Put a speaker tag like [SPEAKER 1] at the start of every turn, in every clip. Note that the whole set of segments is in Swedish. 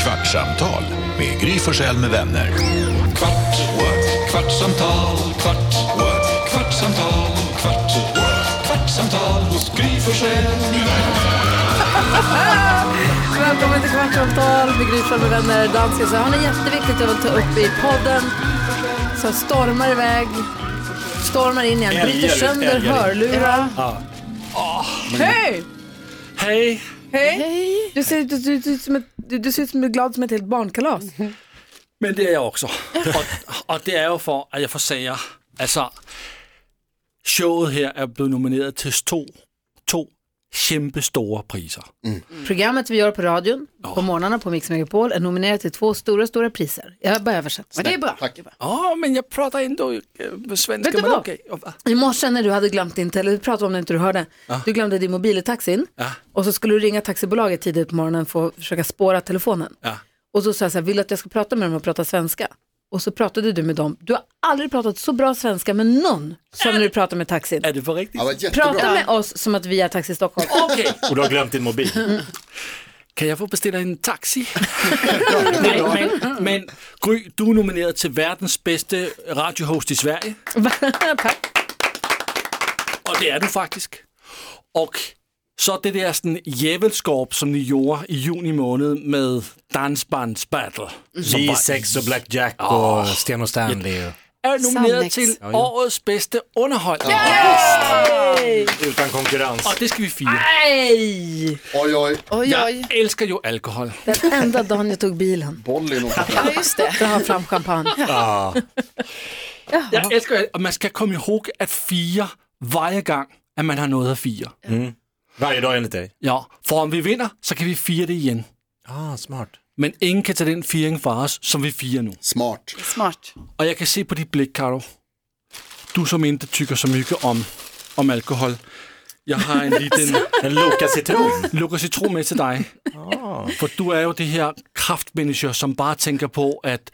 [SPEAKER 1] Kvartsamtal med Gry Forssell med vänner. Kvart, what? kvartsamtal, kvart, what? kvartsamtal, kvart, what? kvartsamtal hos Gry Forssell med vänner.
[SPEAKER 2] Välkommen till Kvartsamtal med Gry Forssell med vänner. Dansken, så har ni jätteviktigt jag vill ta upp i podden. Så stormar iväg, stormar in igen, bryter
[SPEAKER 3] Älgar ut,
[SPEAKER 2] sönder
[SPEAKER 3] älgar in.
[SPEAKER 2] hörlurar.
[SPEAKER 3] Ja.
[SPEAKER 2] Hej!
[SPEAKER 3] Hej!
[SPEAKER 2] Hej! Du ser, du, du, du, som ett, du, du ser ut som du är glad som ett helt barnkalas.
[SPEAKER 3] Men det er jeg også. Og, og det er jo for, at jeg får sager. Altså, showet her er blevet nomineret til to, to kæmpe store priser.
[SPEAKER 2] Programmet vi gör på radion, på morgnarna på Mix Megapol, är nominerat till två stora, stora priser. Jag har bara översatt, men det är bra.
[SPEAKER 3] Åh, men jeg prater endnu øh, svenska,
[SPEAKER 2] Ved du
[SPEAKER 3] men
[SPEAKER 2] hvad?
[SPEAKER 3] okay. Og hvad?
[SPEAKER 2] I morse när du hade glömt din telefon, vi pratade om det inte du hörde, du glömde din mobil i taxin
[SPEAKER 3] Ja.
[SPEAKER 2] och så skulle du ringa taxibolaget tidigt på morgonen för att försöka spåra telefonen.
[SPEAKER 3] Ja.
[SPEAKER 2] Och så sa jag så här, vill du att jag ska prata med dem och prata svenska? Och så pratade du med dem. Du har aldrig pratat så bra svenska med någon som när du pratar med taxin.
[SPEAKER 3] Er det for rigtigt?
[SPEAKER 4] Ja, vad jättebra.
[SPEAKER 2] Prata med oss som att vi är Taxi Stockholm.
[SPEAKER 3] Okay.
[SPEAKER 5] Och du har glömt din mobil.
[SPEAKER 3] Kan jeg få bestilt en taxi? men, men, men Gry, du er nomineret til verdens bedste radiohost i Sverige.
[SPEAKER 2] Tack.
[SPEAKER 3] Og det er du faktisk. Og så det der sådan jævelskorp, som ni gjorde i juni måned med Dansbands Battle. Som
[SPEAKER 5] Vi
[SPEAKER 3] var-
[SPEAKER 5] sex och Blackjack och Sten och Stanley.
[SPEAKER 3] er nomineret
[SPEAKER 6] Sandex.
[SPEAKER 3] til årets bedste underholdning.
[SPEAKER 5] Utan konkurrens.
[SPEAKER 3] Og det skal vi fire.
[SPEAKER 2] Nej!
[SPEAKER 4] Oj, oj.
[SPEAKER 6] Oj, oj.
[SPEAKER 3] Jeg elsker jo alkohol.
[SPEAKER 2] Den enda dagen jag tog bilen,
[SPEAKER 4] Bollen och
[SPEAKER 6] Ja, just det.
[SPEAKER 2] jag har fram champagne.
[SPEAKER 5] Ja.
[SPEAKER 3] Jeg elsker, al- og man skal komme i hug at fire hver gang, at man har noget at fire.
[SPEAKER 5] Varje dag enligt dig.
[SPEAKER 3] Ja, for om vi vinder, så kan vi fire det igen.
[SPEAKER 5] Ah, smart.
[SPEAKER 3] Men ingen kan tage den firing fra os, som vi firer nu.
[SPEAKER 4] smart.
[SPEAKER 6] Smart.
[SPEAKER 3] Og jeg kan se på dit blik, Karo. Du som inte tycker så mycket om, om alkohol. Jeg har en liten
[SPEAKER 5] En Loka citron.
[SPEAKER 3] lukker citron med til dig. For du er jo det her kraftmennesker, som bare tænker på at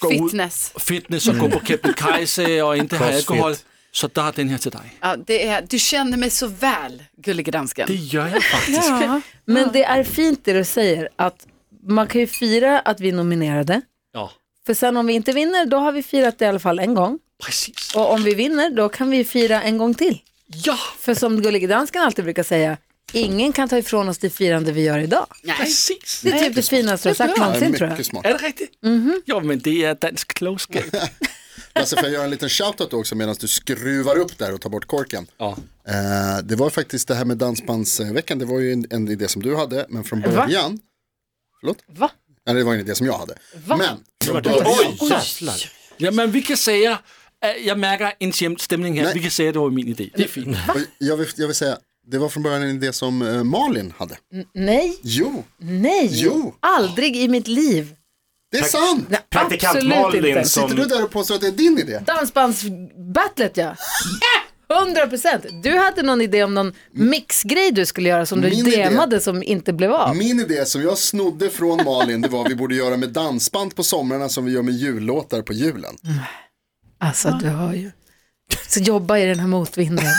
[SPEAKER 3] gå ud
[SPEAKER 6] Fitness.
[SPEAKER 3] fitness Mm. og gå på Kebnekaise og inte have
[SPEAKER 5] Crossfit.
[SPEAKER 3] alkohol. Så der er den her til dig.
[SPEAKER 6] Ja, det är, du känner mig så väl, gullige dansken.
[SPEAKER 3] Det gør jeg faktisk.
[SPEAKER 2] Men det är fint det du säger, att man kan ju fira att vi är nominerade.
[SPEAKER 3] Ja,
[SPEAKER 2] För sen om vi inte vinner, då har vi firat det i alla fall en gång.
[SPEAKER 3] præcis.
[SPEAKER 2] Och om vi vinner, då kan vi fira en gång till.
[SPEAKER 3] Ja,
[SPEAKER 2] För som Gullige Dansken alltid brukar säga, ingen kan ta ifrån oss det firande vi gör idag.
[SPEAKER 6] Nej.
[SPEAKER 3] præcis.
[SPEAKER 2] Det är typ det finaste du har sagt
[SPEAKER 4] Ja,
[SPEAKER 2] någonsin tror jag.
[SPEAKER 4] mycket smart.
[SPEAKER 3] Er det rigtigt? Mm-hmm. Jo, men det er dansk klogskab.
[SPEAKER 4] Lasse, får jag göra en liten shoutout också medan du skruvar upp där och tar bort korken?
[SPEAKER 3] Ja.
[SPEAKER 4] Eh, det var faktiskt det här med Dansbandsveckan, det var ju en, en idé som du hade, men från början... Förlåt?
[SPEAKER 6] Va?
[SPEAKER 4] Nej, det var en idé som jag hade. Men, från
[SPEAKER 2] typ-
[SPEAKER 5] Oj,
[SPEAKER 4] början...
[SPEAKER 5] jävlar.
[SPEAKER 3] Jamen, vi kan sige, at jeg mærker en sjældent stemning her.
[SPEAKER 4] Nej.
[SPEAKER 3] Vi kan sige, at det var min idé. Det er fint.
[SPEAKER 4] Och Jag vill, jag vill säga, det var från början en idé som eh, Malin hade.
[SPEAKER 2] Mm. Nej,
[SPEAKER 4] Jo,
[SPEAKER 2] nej,
[SPEAKER 4] Jo.
[SPEAKER 2] aldrig i mitt liv.
[SPEAKER 4] det är sant!
[SPEAKER 2] Nej,
[SPEAKER 5] Praktikant
[SPEAKER 2] absolut
[SPEAKER 5] Malin
[SPEAKER 2] inte.
[SPEAKER 5] som-
[SPEAKER 4] Sitter du där och påstår att det är din idé?
[SPEAKER 2] Dansbandsbattlet ja. 100 procent. Du hade någon idé om någon mixgrej du skulle göra som du
[SPEAKER 4] Min idé.
[SPEAKER 2] DMade som inte blev av.
[SPEAKER 4] Min idé som jag snodde från Malin, det var vi borde göra med dansband på somrarna som vi gör med jullåtar på julen.
[SPEAKER 2] Alltså du har ju. Så jobba i den här motvinden.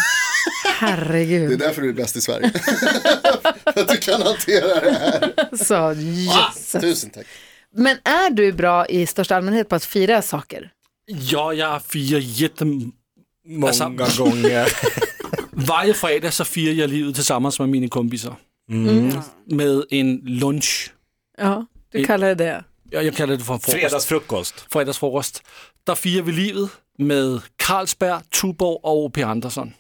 [SPEAKER 2] Herregud.
[SPEAKER 4] Det är därför du är bäst i Sverige. För att du kan hantera det här.
[SPEAKER 2] Så, yes.
[SPEAKER 4] Tusen tack.
[SPEAKER 2] Alltså, Men är du bra i största allmänhet på att fira saker?
[SPEAKER 3] Jo, jeg er fire jætte
[SPEAKER 5] Många
[SPEAKER 3] Alltså-
[SPEAKER 5] gånger.
[SPEAKER 3] Varje fredag så firar jag livet tillsammans med mina kompisar. Med en lunch.
[SPEAKER 2] Ja, du kallar det det.
[SPEAKER 3] Jag, jag kallar det för en frukost.
[SPEAKER 5] Fredagsfrukost.
[SPEAKER 3] Fredagsfrukost. Där firar vi livet med Carlsberg, Tuborg och O.P. Andersson.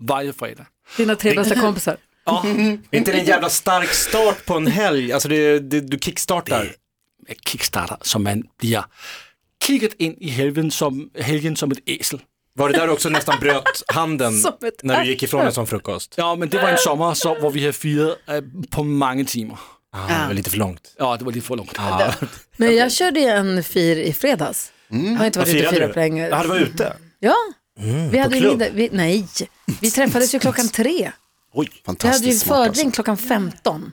[SPEAKER 3] Varje Mm. fredag.
[SPEAKER 2] Dina tre bästa kompisar.
[SPEAKER 5] Är inte det en jävla stark start på en helg? Alltså det, det, du kickstartar.
[SPEAKER 3] Med Kickstarter, så man blir kickat in i helgen som, helgen som ett esel.
[SPEAKER 5] Var det där du också nästan bröt handen
[SPEAKER 2] Som ett
[SPEAKER 5] när du gick ifrån en sån frukost?
[SPEAKER 3] Ja, men det var en sommar så, hvor vi hade firat eh, på många timmar.
[SPEAKER 5] Ah, det var lite för långt.
[SPEAKER 3] Ja, det var lite för långt.
[SPEAKER 2] Men jag körde ju en fir i fredags.
[SPEAKER 5] Mm.
[SPEAKER 2] Jag har inte varit ute och firat på länge.
[SPEAKER 5] Ja, det var ute.
[SPEAKER 2] Ja, vi hade ju
[SPEAKER 5] klubb?
[SPEAKER 2] middag. Vi, nej, vi träffades ju klockan tre.
[SPEAKER 5] Oj.
[SPEAKER 2] Vi hade ju
[SPEAKER 4] Fantastiskt smart alltså.
[SPEAKER 2] fördrink klockan 15.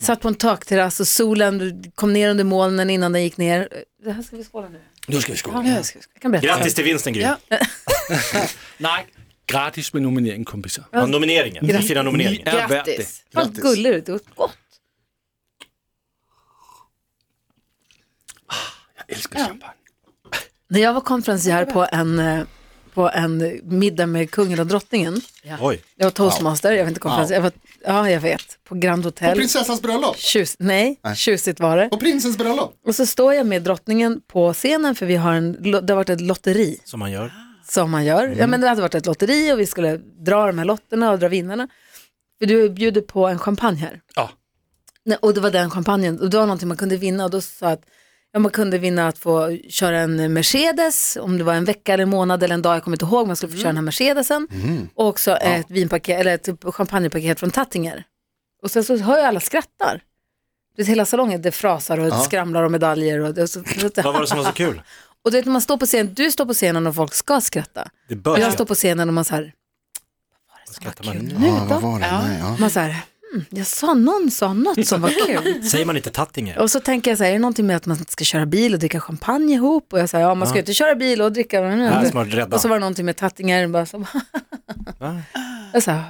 [SPEAKER 2] Satt på en takterrass och solen kom ner under molnen innan den gick ner. Det här ska vi skåla nu.
[SPEAKER 3] Nu ska vi skåla.
[SPEAKER 6] Jag ska-
[SPEAKER 2] Jag kan berätta.
[SPEAKER 5] Grattis till vinsten Gry.
[SPEAKER 6] Ja.
[SPEAKER 3] Nej, gratis med nominering kompisar.
[SPEAKER 5] Ja, nomineringen. Vi firar
[SPEAKER 3] Ni
[SPEAKER 5] nomineringen.
[SPEAKER 3] är värt det.
[SPEAKER 6] Grattis.
[SPEAKER 2] Vad gulligt, det var gott.
[SPEAKER 5] Jag älskar champagne.
[SPEAKER 2] När jag var konferencier på en, eh, på en middag med kungen och drottningen,
[SPEAKER 5] Oj.
[SPEAKER 2] jag var toastmaster, jag var inte konferencier, jag var, ja jag vet, på Grand
[SPEAKER 4] På
[SPEAKER 2] Hotel.
[SPEAKER 4] prinsessans bröllop.
[SPEAKER 2] Tjus, nej, tjusigt var det.
[SPEAKER 4] På prinsens bröllop.
[SPEAKER 2] Och så står jag med drottningen på scenen för vi har en, lo- det har varit ett lotteri
[SPEAKER 5] Som man gör.
[SPEAKER 2] som man gör. Ja, men det hade varit ett lotteri och vi skulle dra de här lotterna och dra vinnarna. För du bjuder på en champagne här.
[SPEAKER 3] Ja.
[SPEAKER 2] Nej, och det var den champagnen och det var någonting man kunde vinna och då sa jag att ja, man kunde vinna att få köra en Mercedes om det var en vecka eller en månad eller en dag, jag kommer inte ihåg, man skulle få köra den här Mercedesen.
[SPEAKER 5] Mm.
[SPEAKER 2] Och också ett vinpaket eller ett champagnepaket från Tattinger. Och sen så hör jag alla skrattar. Det är hela salongen, det frasar och skramlar och medaljer. Och, och, så,
[SPEAKER 5] Vad var det som var så kul?
[SPEAKER 2] och du vet när man står på scenen, du står på scenen och folk ska skratta.
[SPEAKER 5] Det
[SPEAKER 2] Och
[SPEAKER 5] bör
[SPEAKER 2] jag står på scenen och man så här,
[SPEAKER 5] skrattar man.
[SPEAKER 2] nu
[SPEAKER 4] Ja, vad
[SPEAKER 2] då?
[SPEAKER 4] var det? Nej, ja.
[SPEAKER 2] Man så här, hmm, jag sa, någon sa något som var kul.
[SPEAKER 5] Säger man inte Tattinger?
[SPEAKER 2] Och så tänker jag så här, är det någonting med att man inte ska köra bil och dricka champagne ihop? Och jag säger, ja man ska ju inte köra bil och dricka.
[SPEAKER 5] Ja, smart rädda.
[SPEAKER 2] och så var det någonting med tattingar. Bara så, jag sa,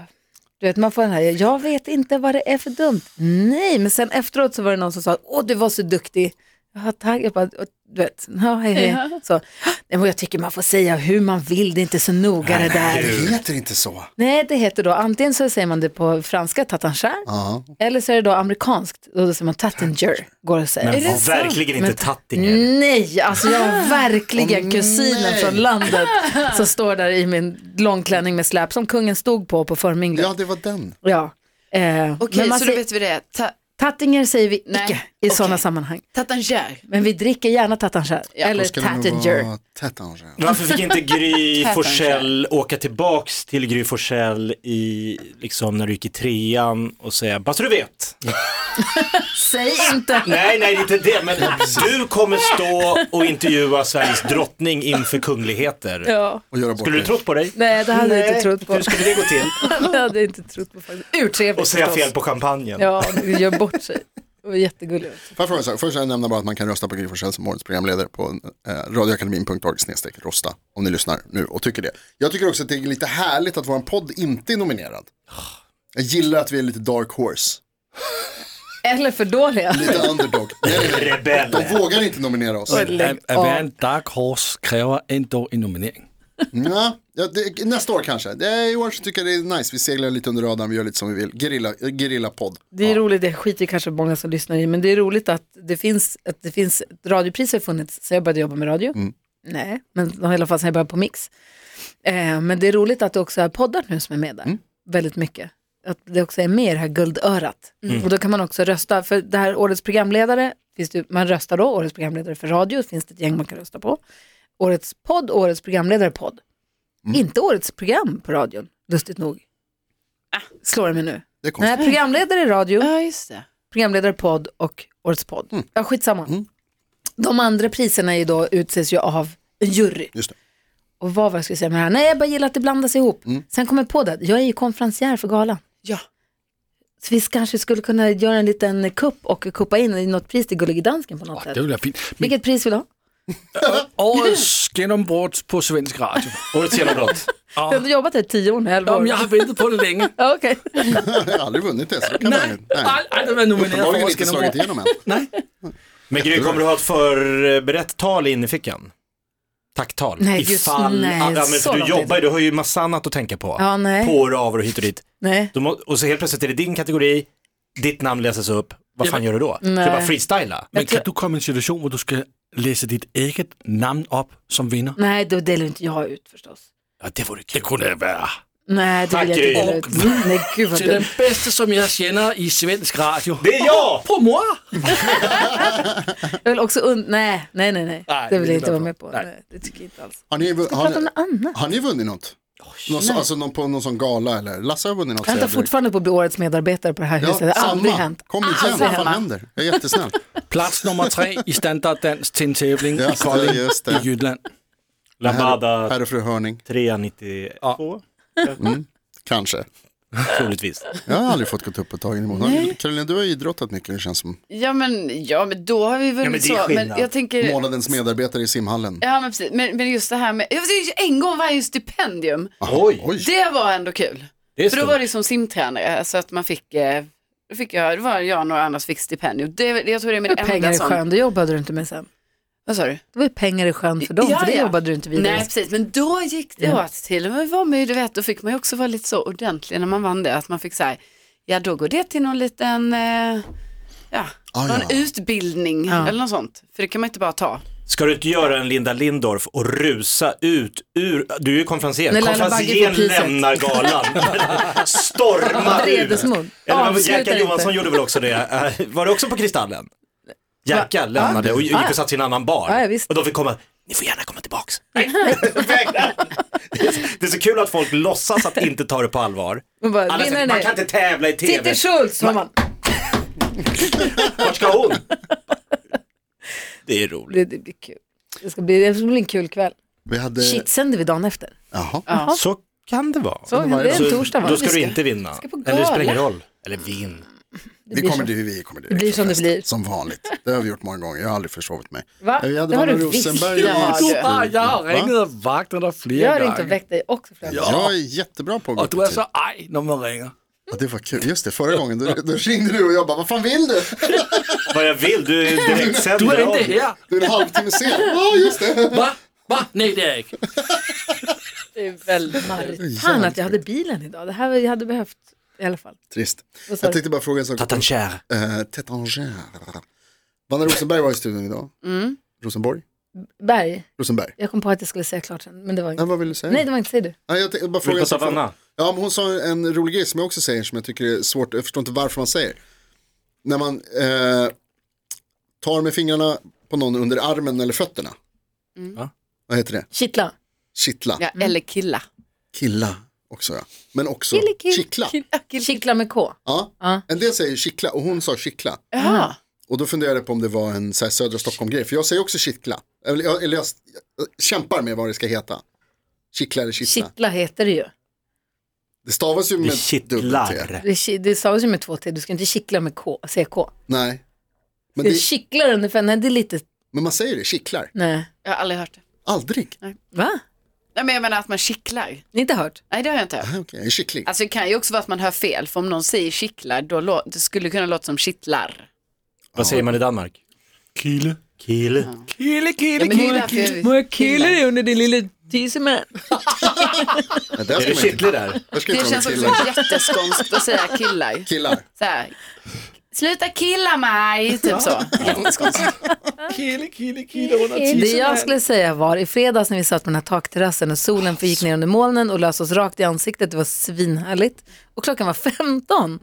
[SPEAKER 2] du vet man får den här, jag vet inte vad det är för dumt. Nej, men sen efteråt så var det någon som sa, åh du var så duktig. Ja, tack. Jag bara, "Åh, du vet, ja, hej, hej. Så, nej, men jag tycker man får säga hur man vill, det är inte så noga det där.
[SPEAKER 4] Det heter inte så.
[SPEAKER 2] Nej, det heter då antingen så säger man det på franska, tatanchère,
[SPEAKER 4] Ja.
[SPEAKER 2] eller så är det då amerikanskt, och då säger man tattinger, går att säga.
[SPEAKER 5] Men
[SPEAKER 6] det sant?
[SPEAKER 5] verkligen inte
[SPEAKER 2] Men-
[SPEAKER 5] Tattinger.
[SPEAKER 2] Nej, alltså jag har verkligen kusinen
[SPEAKER 4] nej.
[SPEAKER 2] från landet som står där i min långklänning med släp som kungen stod på på förminglet.
[SPEAKER 4] ja,
[SPEAKER 2] Ja.
[SPEAKER 4] det var den.
[SPEAKER 2] Eh,
[SPEAKER 6] Okej,
[SPEAKER 2] men man
[SPEAKER 6] så då
[SPEAKER 2] säger,
[SPEAKER 6] vet vi det. Ta
[SPEAKER 2] Tattinger säger vi
[SPEAKER 6] Nej,
[SPEAKER 2] icke i sådana
[SPEAKER 6] okej.
[SPEAKER 2] sammanhang.
[SPEAKER 6] Tatangier.
[SPEAKER 2] Men vi dricker gärna tatanchère eller
[SPEAKER 4] Då ska det nog
[SPEAKER 2] tattinger.
[SPEAKER 4] vara Tattinger.
[SPEAKER 5] Varför fick inte Gry
[SPEAKER 6] Tattinger.
[SPEAKER 5] Forssell åka tillbaks till Gry Forssell i, liksom när du gick i trean och säga, bara så du vet.
[SPEAKER 2] Säg inte.
[SPEAKER 5] Nej, nej, inte det, men du kommer stå och intervjua Sveriges drottning inför kungligheter.
[SPEAKER 2] Ja.
[SPEAKER 4] Och göra bort
[SPEAKER 5] Skulle du
[SPEAKER 4] det.
[SPEAKER 5] trott på dig?
[SPEAKER 2] Nej, det hade jag inte trott på.
[SPEAKER 5] Hur skulle det gå till?
[SPEAKER 2] Det hade jag inte trott på faktiskt. Urtrevligt
[SPEAKER 5] Och säga
[SPEAKER 2] förstås.
[SPEAKER 5] fel på champagnen.
[SPEAKER 2] Ja, du gör bort sig. Det var jättegulligt.
[SPEAKER 4] Får jag fråga en sak? Först vill jag nämna bara att man kan rösta på Gry Forssell som årets programledare på eh, radioakademin.org snedstreck rosta om ni lyssnar nu och tycker det. Jag tycker också att det är lite härligt att vår podd inte är nominerad. Jag gillar att vi är lite dark horse,
[SPEAKER 2] Eller för dåliga.
[SPEAKER 4] lite underdog. Nej, nej, nej.
[SPEAKER 5] Rebell.
[SPEAKER 4] De vågar inte nominera oss.
[SPEAKER 2] Lägg
[SPEAKER 3] Att, att vara
[SPEAKER 2] av.
[SPEAKER 3] en dark horse kräver ändå en nominering.
[SPEAKER 4] Ja, ja, det, nästa år kanske. Det, är- I år så tycker jag det är nice. Vi seglar lite under radarn, vi gör lite som vi vill. Gerilla, eh, gerillapodd.
[SPEAKER 2] Det är roligt, det skiter kanske många som lyssnar i, men det är roligt att det finns, att det finns ett radiopris har funnits sen jag började jobba med radio. Nej, men i alla fall sen jag började på Mix. Eh, men det är roligt att det också är poddar nu som är med där, väldigt mycket. Att det också är med i det här guldörat. Och då kan man också rösta, för det här årets programledare, finns det, ju- man röstar då, årets programledare för radio, finns det ett gäng man kan rösta på. Årets podd, årets programledare podd. Inte årets program på radion, lustigt nog. Slår det mig nu.
[SPEAKER 4] Det är konstigt.
[SPEAKER 2] Nej, programledare i radio,
[SPEAKER 6] Ja, just det.
[SPEAKER 2] programledarpodd och årets podd. Ja, skitsamma. De andra priserna är ju då, utses ju av en jury.
[SPEAKER 4] Just det.
[SPEAKER 2] Och vad var jag skulle säga med det här? Nej, jag bara gillar att det blandas ihop. Sen kom jag på det, jag är ju konferencier för galan.
[SPEAKER 6] Ja.
[SPEAKER 2] Så vi kanske skulle kunna göra en liten kupp och kuppa in i något pris till Gullige Dansken på något
[SPEAKER 3] Åh,
[SPEAKER 2] sätt.
[SPEAKER 3] det ville vara fint. Men
[SPEAKER 2] Vilket pris vill du ha?
[SPEAKER 3] årets genombrott på svensk radio.
[SPEAKER 5] Årets genombrott.
[SPEAKER 2] Du har jobbat här i tio år nu, elva
[SPEAKER 3] Ja,
[SPEAKER 2] år.
[SPEAKER 3] men jag har väntat på det länge.
[SPEAKER 2] Ja, Okej,
[SPEAKER 4] Jag har aldrig vunnit det, så det kan man ju. Nej.
[SPEAKER 3] Aldrig varit nominerad för
[SPEAKER 4] Uppenbarligen
[SPEAKER 3] årets
[SPEAKER 4] inte slagit
[SPEAKER 3] genombrott.
[SPEAKER 4] igenom än.
[SPEAKER 3] Nej.
[SPEAKER 5] Men Gry, kommer du ha ett förberett tal i innerfickan? Tacktal?
[SPEAKER 2] Nej, just- nej,
[SPEAKER 5] ja, men
[SPEAKER 2] så
[SPEAKER 5] för du
[SPEAKER 2] långt är det
[SPEAKER 5] jobbar ju, du har ju massa annat att tänka på.
[SPEAKER 2] Ja, nej.
[SPEAKER 5] På och av och hit och dit.
[SPEAKER 2] nej.
[SPEAKER 5] Du må, och så helt plötsligt är det din kategori, ditt namn läses upp, vad
[SPEAKER 3] Ja,
[SPEAKER 5] fan
[SPEAKER 3] men-
[SPEAKER 5] gör du då? Ska du
[SPEAKER 2] Nej.
[SPEAKER 5] bara freestyla?
[SPEAKER 3] Men kan du komma i en situation där du ska läsa ditt eget namn upp som vinner?
[SPEAKER 2] Nej, då delar inte jag ut förstås.
[SPEAKER 3] Ja, det vore kul. Det kunde vara.
[SPEAKER 2] Nej, det
[SPEAKER 5] Tack,
[SPEAKER 2] vill jag inte
[SPEAKER 5] Gry.
[SPEAKER 2] dela ut. Nej, gud vad
[SPEAKER 3] Till den
[SPEAKER 2] dumt.
[SPEAKER 3] bästa som jag känner i svensk radio.
[SPEAKER 5] Det är jag!
[SPEAKER 3] På moi!
[SPEAKER 2] Jag vill också und- nej, nej, nej, nej.
[SPEAKER 3] Nej,
[SPEAKER 2] Det vill
[SPEAKER 3] det
[SPEAKER 2] jag
[SPEAKER 3] är
[SPEAKER 2] inte vara
[SPEAKER 3] bra.
[SPEAKER 2] med på.
[SPEAKER 3] Nej.
[SPEAKER 2] Nej, det tycker jag inte alls.
[SPEAKER 4] Har ni, har,
[SPEAKER 2] Prata om
[SPEAKER 4] ni,
[SPEAKER 2] något annat.
[SPEAKER 4] har ni vunnit något? Någon, så- alltså någon på någon sån gala eller? Lasse har vunnit något.
[SPEAKER 2] Jag väntar
[SPEAKER 4] säger jag direkt.
[SPEAKER 2] fortfarande på att bli årets medarbetare på det här huset. Det har aldrig
[SPEAKER 4] samma.
[SPEAKER 2] hänt.
[SPEAKER 4] Kom igen,
[SPEAKER 2] Aldrig
[SPEAKER 4] vad fan
[SPEAKER 2] hänt.
[SPEAKER 4] händer? Jag är jättesnäll.
[SPEAKER 3] Plats nummer tre i standarddans till en tävling i
[SPEAKER 4] Just det,
[SPEAKER 3] Kolding
[SPEAKER 4] just
[SPEAKER 3] i
[SPEAKER 4] det.
[SPEAKER 3] Jylland.
[SPEAKER 5] Lambada
[SPEAKER 4] Herr och fru Hörning, Mm,
[SPEAKER 5] 392,
[SPEAKER 4] kanske.
[SPEAKER 5] troligtvis.
[SPEAKER 4] Jag har aldrig fått gått upp på tagen emot. Karolina, du har idrottat mycket det känns som.
[SPEAKER 6] Ja, men, ja, men då har vi
[SPEAKER 5] Ja, men
[SPEAKER 6] vunnit
[SPEAKER 5] det är
[SPEAKER 6] så. Men
[SPEAKER 5] skillnad.
[SPEAKER 6] jag tänker...
[SPEAKER 4] Månadens medarbetare i simhallen.
[SPEAKER 6] Ja, men precis. Men, men just det här med... Jag vet, en gång varje stipendium.
[SPEAKER 5] Oj,
[SPEAKER 4] Oj,
[SPEAKER 6] Det var ändå kul.
[SPEAKER 5] det är
[SPEAKER 6] För då var
[SPEAKER 5] stort.
[SPEAKER 6] det som simtränare, alltså att man fick, eh, då fick jag, det var jag och några andra som fick stipendium. Det, det- jag tror det är
[SPEAKER 2] Hur
[SPEAKER 6] mitt
[SPEAKER 2] pengar
[SPEAKER 6] enda
[SPEAKER 2] i
[SPEAKER 6] sån.
[SPEAKER 2] sjön, det jobbade du inte med sen.
[SPEAKER 6] Vad sa du?
[SPEAKER 2] Det var ju pengar i sjön för dem,
[SPEAKER 6] Ja,
[SPEAKER 2] för det
[SPEAKER 6] ja.
[SPEAKER 2] jobbade du inte vidare.
[SPEAKER 6] Nej, precis. Men då gick det åt till. Men var med, du vet, då fick man ju också vara lite så ordentlig när man vann det. Att man fick så här, ja då går det till någon liten, eh, ja,
[SPEAKER 4] Ah,
[SPEAKER 6] någon
[SPEAKER 4] ja.
[SPEAKER 6] utbildning
[SPEAKER 2] Ja.
[SPEAKER 6] eller något sånt. För det kan man inte bara ta.
[SPEAKER 5] Ska du inte göra en Linda Lindorff och rusa ut ur, du är ju konferencier,
[SPEAKER 2] När Laila Bagge får
[SPEAKER 5] konferencier
[SPEAKER 2] priset.
[SPEAKER 5] lämnar galan. Stormar
[SPEAKER 2] Vredesmod.
[SPEAKER 5] ut. Eller vad-
[SPEAKER 2] Avslutar
[SPEAKER 5] Jerka Johansson
[SPEAKER 2] inte.
[SPEAKER 5] gjorde väl också det, Eh, var det också på Kristallen? Jerka lämnade och gick och satt i en annan bar.
[SPEAKER 2] Ja, ja, visst.
[SPEAKER 5] och de fick komma, ni får gärna komma tillbaks. Nej, vägrar. Det är så- det är så kul att folk låtsas att inte ta det på allvar.
[SPEAKER 2] Man bara,
[SPEAKER 5] Alla säger,
[SPEAKER 2] vinnaren
[SPEAKER 5] Alltså, man
[SPEAKER 2] är-
[SPEAKER 5] kan inte tävla i tv,
[SPEAKER 2] Titti Schultz, var man.
[SPEAKER 5] vart ska hon? Det är roligt.
[SPEAKER 2] Det, det blir kul. Det ska bli, det ska bli en kul kväll.
[SPEAKER 4] Vi hade...
[SPEAKER 2] Shit, sänder vi dagen efter?
[SPEAKER 4] Jaha.
[SPEAKER 5] Så kan det vara.
[SPEAKER 2] Så, det är en torsdag va?
[SPEAKER 5] Då ska du inte vinna.
[SPEAKER 2] ska på
[SPEAKER 5] Eller det spelar ingen
[SPEAKER 2] gala.
[SPEAKER 5] roll. Eller vinn.
[SPEAKER 4] Vi
[SPEAKER 2] blir
[SPEAKER 4] kommer
[SPEAKER 2] så.
[SPEAKER 4] dit, vi kommer dit.
[SPEAKER 2] Det blir som det blir.
[SPEAKER 4] Som vanligt. Det har vi gjort många gånger. Jag har aldrig försovit mig. Eh,
[SPEAKER 2] Va?
[SPEAKER 4] Vi hade
[SPEAKER 2] Det har
[SPEAKER 4] Vanna
[SPEAKER 2] du visst.
[SPEAKER 4] Rosenberg
[SPEAKER 6] Det har du.
[SPEAKER 4] Eskilstuna.
[SPEAKER 3] Jeg har
[SPEAKER 4] Va?
[SPEAKER 3] ringet og vagt dig flere
[SPEAKER 2] Gör det inte
[SPEAKER 3] gange.
[SPEAKER 2] och väck dig också Fredrik.
[SPEAKER 4] Ja. Jag är jättebra på att gå
[SPEAKER 3] Og du
[SPEAKER 4] på
[SPEAKER 3] er
[SPEAKER 4] tid.
[SPEAKER 3] så ej, når man ringer.
[SPEAKER 4] Ja, det var kul. Just det, förra gången då, då ringde du och jag bara, vad fan vill du?
[SPEAKER 5] Vad jag vill, du är direktsänd.
[SPEAKER 3] Du er ikke her.
[SPEAKER 4] Du är en halvtimme sen. Ja, just det.
[SPEAKER 3] Hva? Hva? Nej, det er jeg ikke.
[SPEAKER 2] Det är väldigt marrigt. Fan att jag hade bilen idag. Det här var- jag hade behövt i alla fall.
[SPEAKER 4] Trist.
[SPEAKER 2] Vad sa
[SPEAKER 4] Jag
[SPEAKER 2] du?
[SPEAKER 4] tänkte bara fråga en sak.
[SPEAKER 5] Tatancher.
[SPEAKER 4] Eh, Tétanger. Vanna Rosenberg var i studion idag.
[SPEAKER 2] Mm.
[SPEAKER 4] Rosenborg?
[SPEAKER 2] Berg,
[SPEAKER 4] Rosenberg.
[SPEAKER 2] jag kom på att jag skulle säga klart sen, men det var
[SPEAKER 4] Ja,
[SPEAKER 2] inte.
[SPEAKER 4] vad vill du säga?
[SPEAKER 2] Nej, det var inte, säg du.
[SPEAKER 4] Ja, jag tänkte bara fråga
[SPEAKER 5] Vill
[SPEAKER 4] en
[SPEAKER 5] du prata
[SPEAKER 4] sak.
[SPEAKER 5] Vanna?
[SPEAKER 4] Ja, men hon sa en rolig grej som jag också säger som jag tycker är svårt, jag förstår inte varför man säger. När man eh, tar med fingrarna på någon under armen eller fötterna.
[SPEAKER 2] Mm.
[SPEAKER 5] Va?
[SPEAKER 4] Vad heter det?
[SPEAKER 2] Kittla.
[SPEAKER 4] Kittla.
[SPEAKER 6] Ja, Eller killa.
[SPEAKER 4] Killa också ja. Men också
[SPEAKER 2] Kille, kill-
[SPEAKER 4] kittla.
[SPEAKER 2] kill- Kittla med K.
[SPEAKER 4] Ja.
[SPEAKER 2] Ja.
[SPEAKER 4] En del säger kittla och hon sa kittla.
[SPEAKER 6] Ja.
[SPEAKER 4] Och då funderade jag på om det var en så här, södra Stockholm-grej. För jag säger också kittla. Eller, jag, eller jag, jag kämpar med vad det ska heta. Kittla eller kittla.
[SPEAKER 2] Kittla heter det ju.
[SPEAKER 4] Det stavas ju
[SPEAKER 5] Det
[SPEAKER 4] med dubbelt T.
[SPEAKER 5] kittlar.
[SPEAKER 2] Det, är ki- det stavas ju med två T, du ska inte kittla med K, CK.
[SPEAKER 4] Nej. Men,
[SPEAKER 2] Det...
[SPEAKER 4] det,
[SPEAKER 2] Kittlar ungefär, nej det är lite,
[SPEAKER 4] men man säger det, kittlar.
[SPEAKER 2] nej.
[SPEAKER 6] Jag har aldrig hört det.
[SPEAKER 4] Aldrig.
[SPEAKER 2] Va?
[SPEAKER 6] Nej, men jag menar att man kittlar.
[SPEAKER 2] Ni har inte hört?
[SPEAKER 6] Nej, det har jag inte hört.
[SPEAKER 4] Ah, Okej, en kyckling.
[SPEAKER 6] Alltså det kan ju också vara att man hör fel, för om någon säger kittlar, då lå- det skulle kunna låta som kittlar.
[SPEAKER 5] Vad säger man i Danmark?
[SPEAKER 3] Kile.
[SPEAKER 5] Kille.
[SPEAKER 3] Kile, kile,
[SPEAKER 6] Ja, men det är därför jag-
[SPEAKER 2] jag killa dig under din lille tisseman?
[SPEAKER 4] Men där
[SPEAKER 5] Är
[SPEAKER 4] ska
[SPEAKER 5] det
[SPEAKER 4] man inte-
[SPEAKER 5] kittle där?
[SPEAKER 4] där ska
[SPEAKER 6] Det
[SPEAKER 4] inte vara
[SPEAKER 6] känns
[SPEAKER 4] med
[SPEAKER 6] också
[SPEAKER 4] killar.
[SPEAKER 6] jätteskånskt att säga killar.
[SPEAKER 4] Killar.
[SPEAKER 6] Så här, Sluta killa mig, typ så. Jätteskånskt.
[SPEAKER 3] kile, kille, kile under
[SPEAKER 2] Det jag
[SPEAKER 3] tissemanden.
[SPEAKER 2] skulle säga var i fredags när vi satt på den här takterrassen och solen förgick ner under molnen och lös oss rakt i ansiktet. Det var svinhärligt. Och klockan var 15.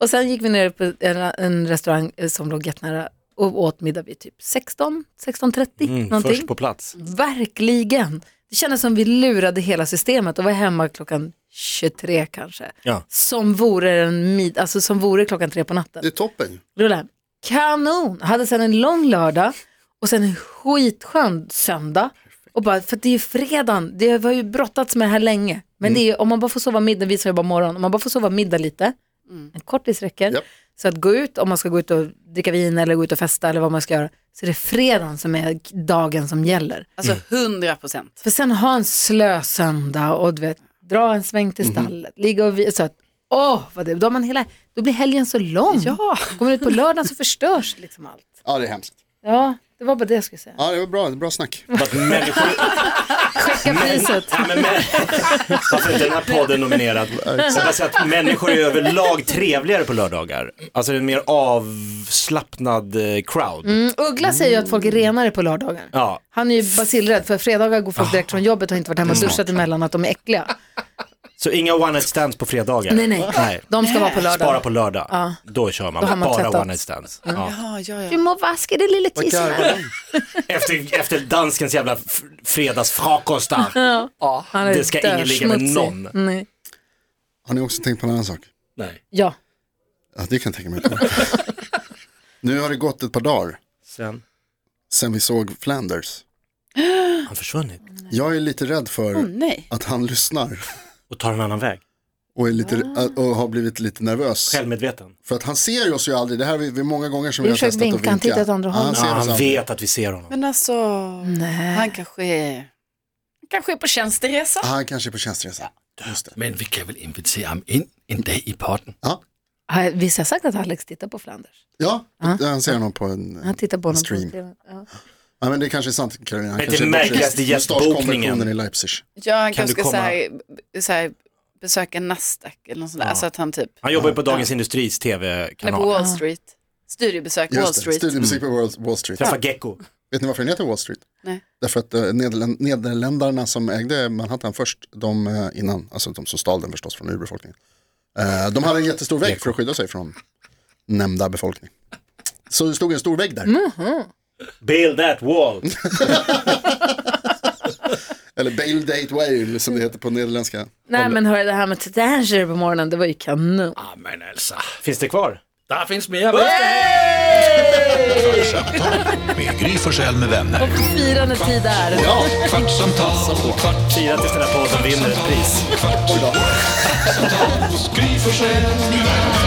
[SPEAKER 2] Och sen gick vi ner på en, en restaurang eh, som låg jättenära och åt middag vid typ 16, 16.30 någonting.
[SPEAKER 5] Först på plats.
[SPEAKER 2] Verkligen. Det kändes som vi lurade hela systemet och var hemma klockan 23 kanske.
[SPEAKER 5] Ja.
[SPEAKER 2] Som vore en mid, alltså som vore klockan tre på natten.
[SPEAKER 4] Det är toppen.
[SPEAKER 2] Rulla. Kanon! Hade sen en lång lördag och sen en skitskön söndag. Och bara, för att det är ju fredagen, det har ju brottats med det här länge. Men det är, ju- om man bara får sova middag, vi som jobbar morgon, om man bara får sova middag lite, en kortis räcker.
[SPEAKER 4] Japp.
[SPEAKER 2] Så att gå ut, om man ska gå ut och dricka vin eller gå ut och festa eller vad man ska göra, så är det fredagen som är dagen som gäller.
[SPEAKER 6] Alltså hundra procent.
[SPEAKER 2] För sen ha en slö söndag och du vet, dra en sväng
[SPEAKER 5] Mhm.
[SPEAKER 2] till stallet, ligga och vi, så att, åh, vad det, då, har man hela, då blir helgen så lång. Ja. Kommer ut på lördagen så förstörs liksom allt.
[SPEAKER 4] Ja, det är hemskt.
[SPEAKER 2] Ja, det var bara det jag skulle säga.
[SPEAKER 4] Ja, det var bra, bra snack.
[SPEAKER 5] Att människor,
[SPEAKER 2] Checka priset.
[SPEAKER 5] ja, men, men, varför är inte den här podden nominerad? Jag bara säga att människor är överlag trevligare på lördagar. Alltså det är en mer avslappnad eh, crowd.
[SPEAKER 2] Mm, Uggla säger ju att folk är renare på lördagar.
[SPEAKER 5] Ja. Ah.
[SPEAKER 2] Han är ju basilrädd för fredagar går folk direkt från jobbet och har inte varit hemma och duschat emellan att de är äckliga.
[SPEAKER 5] Så inga one night stands på fredagar.
[SPEAKER 2] Nej, nej.
[SPEAKER 5] nej.
[SPEAKER 2] De ska vara på
[SPEAKER 5] Spara
[SPEAKER 2] lördag.
[SPEAKER 5] på lördag. Då kör man,
[SPEAKER 2] Då har man
[SPEAKER 5] bara
[SPEAKER 2] tvättat. Mm.
[SPEAKER 5] one night stands. Ja.
[SPEAKER 6] Ja, ja,
[SPEAKER 2] Du
[SPEAKER 6] ja.
[SPEAKER 2] må vaska det lilla tissemän.
[SPEAKER 5] Efter, efter danskens jävla f- fredagsfrukost där.
[SPEAKER 2] Han är
[SPEAKER 5] Det ska ingen ligga med
[SPEAKER 2] dödsmutsig.
[SPEAKER 5] någon.
[SPEAKER 2] Nej.
[SPEAKER 4] Har ni också tänkt på en annan sak?
[SPEAKER 5] Nej.
[SPEAKER 2] Ja,
[SPEAKER 4] Ja, det kan jag tänka mig. nu har det gått ett par dagar
[SPEAKER 5] Sen,
[SPEAKER 4] sen vi såg Flanders.
[SPEAKER 5] han försvunnit
[SPEAKER 4] Jag är lite rädd för
[SPEAKER 2] Mm.
[SPEAKER 6] Nej.
[SPEAKER 4] att han lyssnar
[SPEAKER 5] och tar en annan väg.
[SPEAKER 4] och, är lite,
[SPEAKER 2] Ah.
[SPEAKER 4] och har blivit lite nervös.
[SPEAKER 5] Självmedveten.
[SPEAKER 4] För att han ser oss ju aldrig. Det här har vi, vi många gånger som
[SPEAKER 2] Vi
[SPEAKER 4] vi har
[SPEAKER 2] försöker
[SPEAKER 4] testat att
[SPEAKER 2] vinka,
[SPEAKER 4] vinka.
[SPEAKER 2] han tittar åt andra
[SPEAKER 4] Han
[SPEAKER 2] hållet.
[SPEAKER 5] Ja,
[SPEAKER 4] ser oss
[SPEAKER 5] han
[SPEAKER 4] aldrig.
[SPEAKER 5] vet att vi ser honom.
[SPEAKER 6] Men alltså, han kanske är... Han kanske är på tjänsteresa.
[SPEAKER 4] Han kanske är på tjänsteresa. Just det.
[SPEAKER 3] Men vi kan vel invitere ham ind en dag i potten.
[SPEAKER 4] Ja,
[SPEAKER 2] Har- visst har jag sagt att Alex tittar på Flanders?
[SPEAKER 4] ja. han ser honom på en...
[SPEAKER 2] Han tittar på honom
[SPEAKER 4] Stream.
[SPEAKER 2] på TV. Ja.
[SPEAKER 4] Ja, men det kanske är sant Carolina. Han
[SPEAKER 5] Men
[SPEAKER 4] kanske
[SPEAKER 5] det
[SPEAKER 4] är bortskämd.
[SPEAKER 5] märkligaste gästbokningen.
[SPEAKER 4] Mustaschkonventionen i Leipzig.
[SPEAKER 6] Ja,
[SPEAKER 5] Kan du
[SPEAKER 6] kanske
[SPEAKER 5] komma-
[SPEAKER 6] så här, b- så här, besöka Nasdaq eller något sånt där. Alltså att han typ,
[SPEAKER 5] Han jobbar ju på Dagens Industris
[SPEAKER 6] han är på
[SPEAKER 5] tv-kanal.
[SPEAKER 6] Wall Street. Studiebesök Wall
[SPEAKER 4] Just det,
[SPEAKER 6] Street.
[SPEAKER 4] studiemusik på Wall- Wall Street.
[SPEAKER 5] Mm. Träffar Gecko.
[SPEAKER 4] Vet ni varför den heter Wall Street?
[SPEAKER 6] Nej.
[SPEAKER 4] Därför att eh, Nederlän- Nederländarna som ägde Manhattan först, de eh, innan, alltså de som stal den förstås från urbefolkningen, eh, de hade en jättestor vägg för att skydda sig från nämnda befolkning. Så det stod en stor vägg där,
[SPEAKER 5] Build that wall.
[SPEAKER 4] eller Bail Date Whale som det heter på nederländska.
[SPEAKER 2] Nej men hörru, det här med Tanger på morgonen, det var ju kanon.
[SPEAKER 3] Ah, men alltså,
[SPEAKER 5] Finns det kvar?
[SPEAKER 3] där finns mer. Hey!
[SPEAKER 1] Kvartsamtal med Gry Forssell med vänner.
[SPEAKER 2] Firande tid där.
[SPEAKER 1] Ja, kvartsamtal, kvart,
[SPEAKER 5] Fira tills den här podden vinner ett pris.
[SPEAKER 1] kvart, kvartsamtal hos Gry Forssell med vänner.